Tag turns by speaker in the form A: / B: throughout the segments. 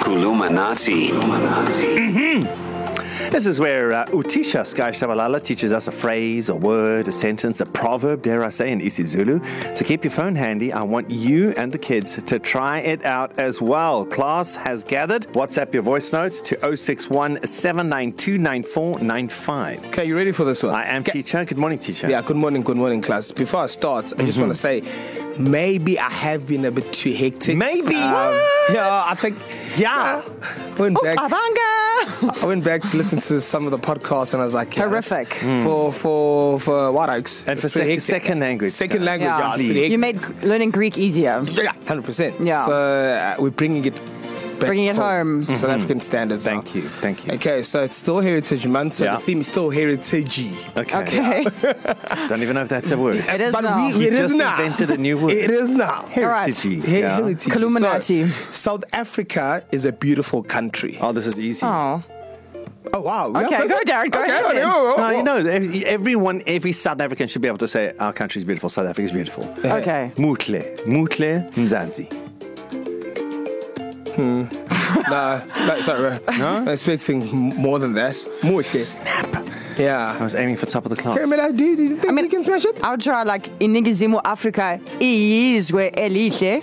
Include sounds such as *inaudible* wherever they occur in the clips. A: Kulumanati.
B: This is where uh, Utisha Sky Shabalala teaches us a phrase, a word, a sentence, a proverb, dare I say, in isiZulu. So keep your phone handy. I want you and the kids to try it out as well. Class has gathered. WhatsApp your voice notes to 061 792 9495.
C: Okay, you ready for this one?
B: I am
C: Okay.
B: teacher. Good morning, teacher.
C: Yeah, good morning, good morning, class. Before I start, I just want to
B: Mm-hmm.
C: say maybe I have been a bit too hectic. Um,
B: Maybe. Um, Ah. Yeah, I think. Yeah.
C: I went back.
D: Abanga!
C: I went back to listen to some of the podcasts, and I was like, yeah, that's- Mm.
D: Horrific.
C: for for for White Oaks
B: And for
C: it's
B: sec-
C: pretty hectic.
B: second language.
C: Second language,
D: Yeah.
C: yeah, it's pretty
D: You
C: hectic.
D: made learning Greek easier.
C: yeah, hundred percent.
D: Yeah.
C: so uh, we're bringing it. Back
D: Bringing it home.
C: South African standards.
B: Mm-hmm. Thank you,
C: now.
B: thank you.
C: Okay, so it's still Heritage Month, so
B: Yeah.
C: the theme is still heritage.
B: Okay.
D: Okay.
B: Don't even know if that's a word.
D: It is
C: but
D: now.
C: we, it
B: You
C: is
B: just
C: now.
B: invented a
C: *laughs*
B: new word.
C: It is now.
D: All right.
B: Heritage,
C: Her-
B: yeah. Oh.
C: Heritage.
D: Columinati.
C: So, South Africa is a beautiful country.
B: Oh, this is easy.
D: *laughs* Oh.
C: Oh wow. We
D: Okay,
C: have-
D: go, Darren, go
C: okay,
D: ahead
C: okay,
D: then.
C: oh, oh,
B: No,
C: oh.
B: you know, ev- everyone, every South African should be able to say, our country's beautiful, South Africa's beautiful.
D: Okay.
B: Mutle, Mutle Mzanzi.
C: Nah, no, sorry. No? I'm expecting m- more than that. More shit. Snap.
B: I
C: Yeah.
B: was aiming for top of the class.
C: Okay, man, I do. Do you think I mean, you can smash it?
D: I'll try like iningizimu Africa iyizwe elihle.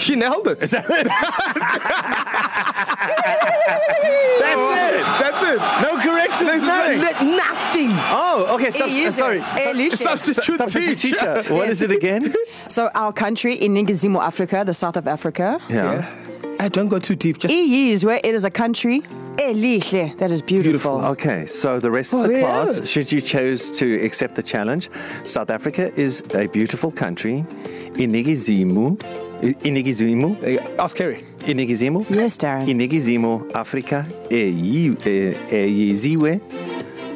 C: She nailed it.
B: Is that
C: *laughs*
B: it? That's
C: That's
B: it.
C: it.
B: No correction. There's
C: nothing.
B: Oh, okay. Sub-
D: It
B: uh,
D: is
B: sorry.
D: it. Elihle.
C: Substitute
B: Substitute
C: teacher.
B: teacher. What is it again?
D: So our country iningizimu Africa, the south of Africa,
B: Yeah.
C: Yeah. I don't go too deep.
D: E-
C: Just
D: iyizwe it is a country elihle that is beautiful. beautiful.
B: Okay, so the rest of the
C: Well, yeah.
B: class, should you choose to accept the challenge, South Africa is a beautiful country. Inigizimu. Inigizimu.
C: uh, ask Kerry.
B: Inigizimo?
D: Yes, Darren.
B: Inigizimo, Africa, eyi- e- eyiziwe.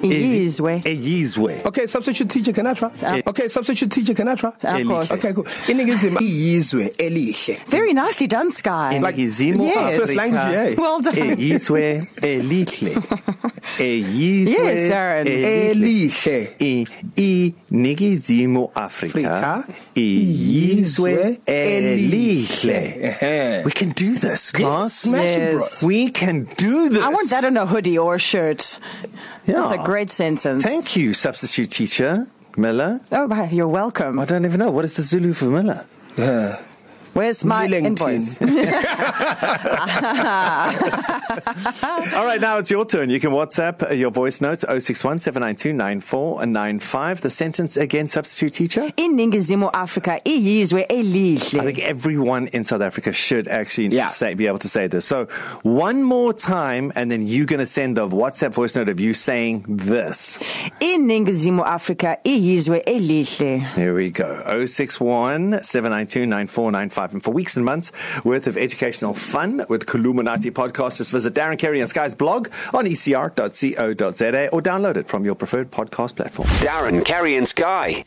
D: Iyizwe.
B: e Eyizwe.
C: Okay, substitute teacher, can I try?
D: Yeah.
C: Okay, substitute teacher, can I try?
D: Of course.
C: Okay, cool. Iningizima iyizwe elihle.
D: Very nicely done, Sky.
C: like-
B: Inigizimo,
D: Yes.
C: First language,
B: Africa, E
C: yeah.
D: well done.
B: eyizwe, elihle. E Eyizwe,
D: Yes, Darren.
B: e
C: E
B: elihle.
C: Elihle.
B: I- Inigizimo, E, Africa, E eyizwe, elihle.
C: Ehe.
B: We can do this, class.
C: smash it, bro.
D: Yes.
B: We can do this.
D: I want that on a hoodie or a shirt.
B: Yeah.
D: That's a great sentence.
B: Thank you, substitute teacher Miller.
D: Oh, hi, you're welcome.
B: I don't even know. What is the Zulu for Miller?
C: Yeah.
D: Where's my
C: Millington.
D: invoice?
B: All right, now it's your turn. You can WhatsApp your voice oh notes 061 792 9495. The sentence again, substitute teacher.
D: iningizimu Africa iyizwe
B: I think
D: elihle.
B: everyone in South Africa should actually
C: Yeah.
B: say, be able to say this. So, one more time, and then you're going to send the WhatsApp voice note of you saying this.
D: Iningizimu Africa iyizwe elihle.
B: Here we go 061 792 9495. And for weeks and months worth of educational fun with Kuluminati podcast, just visit Darren Carey and Sky's blog on E ecr.co.za or download it from your preferred podcast platform.
A: Darren, Kerry, and Sky.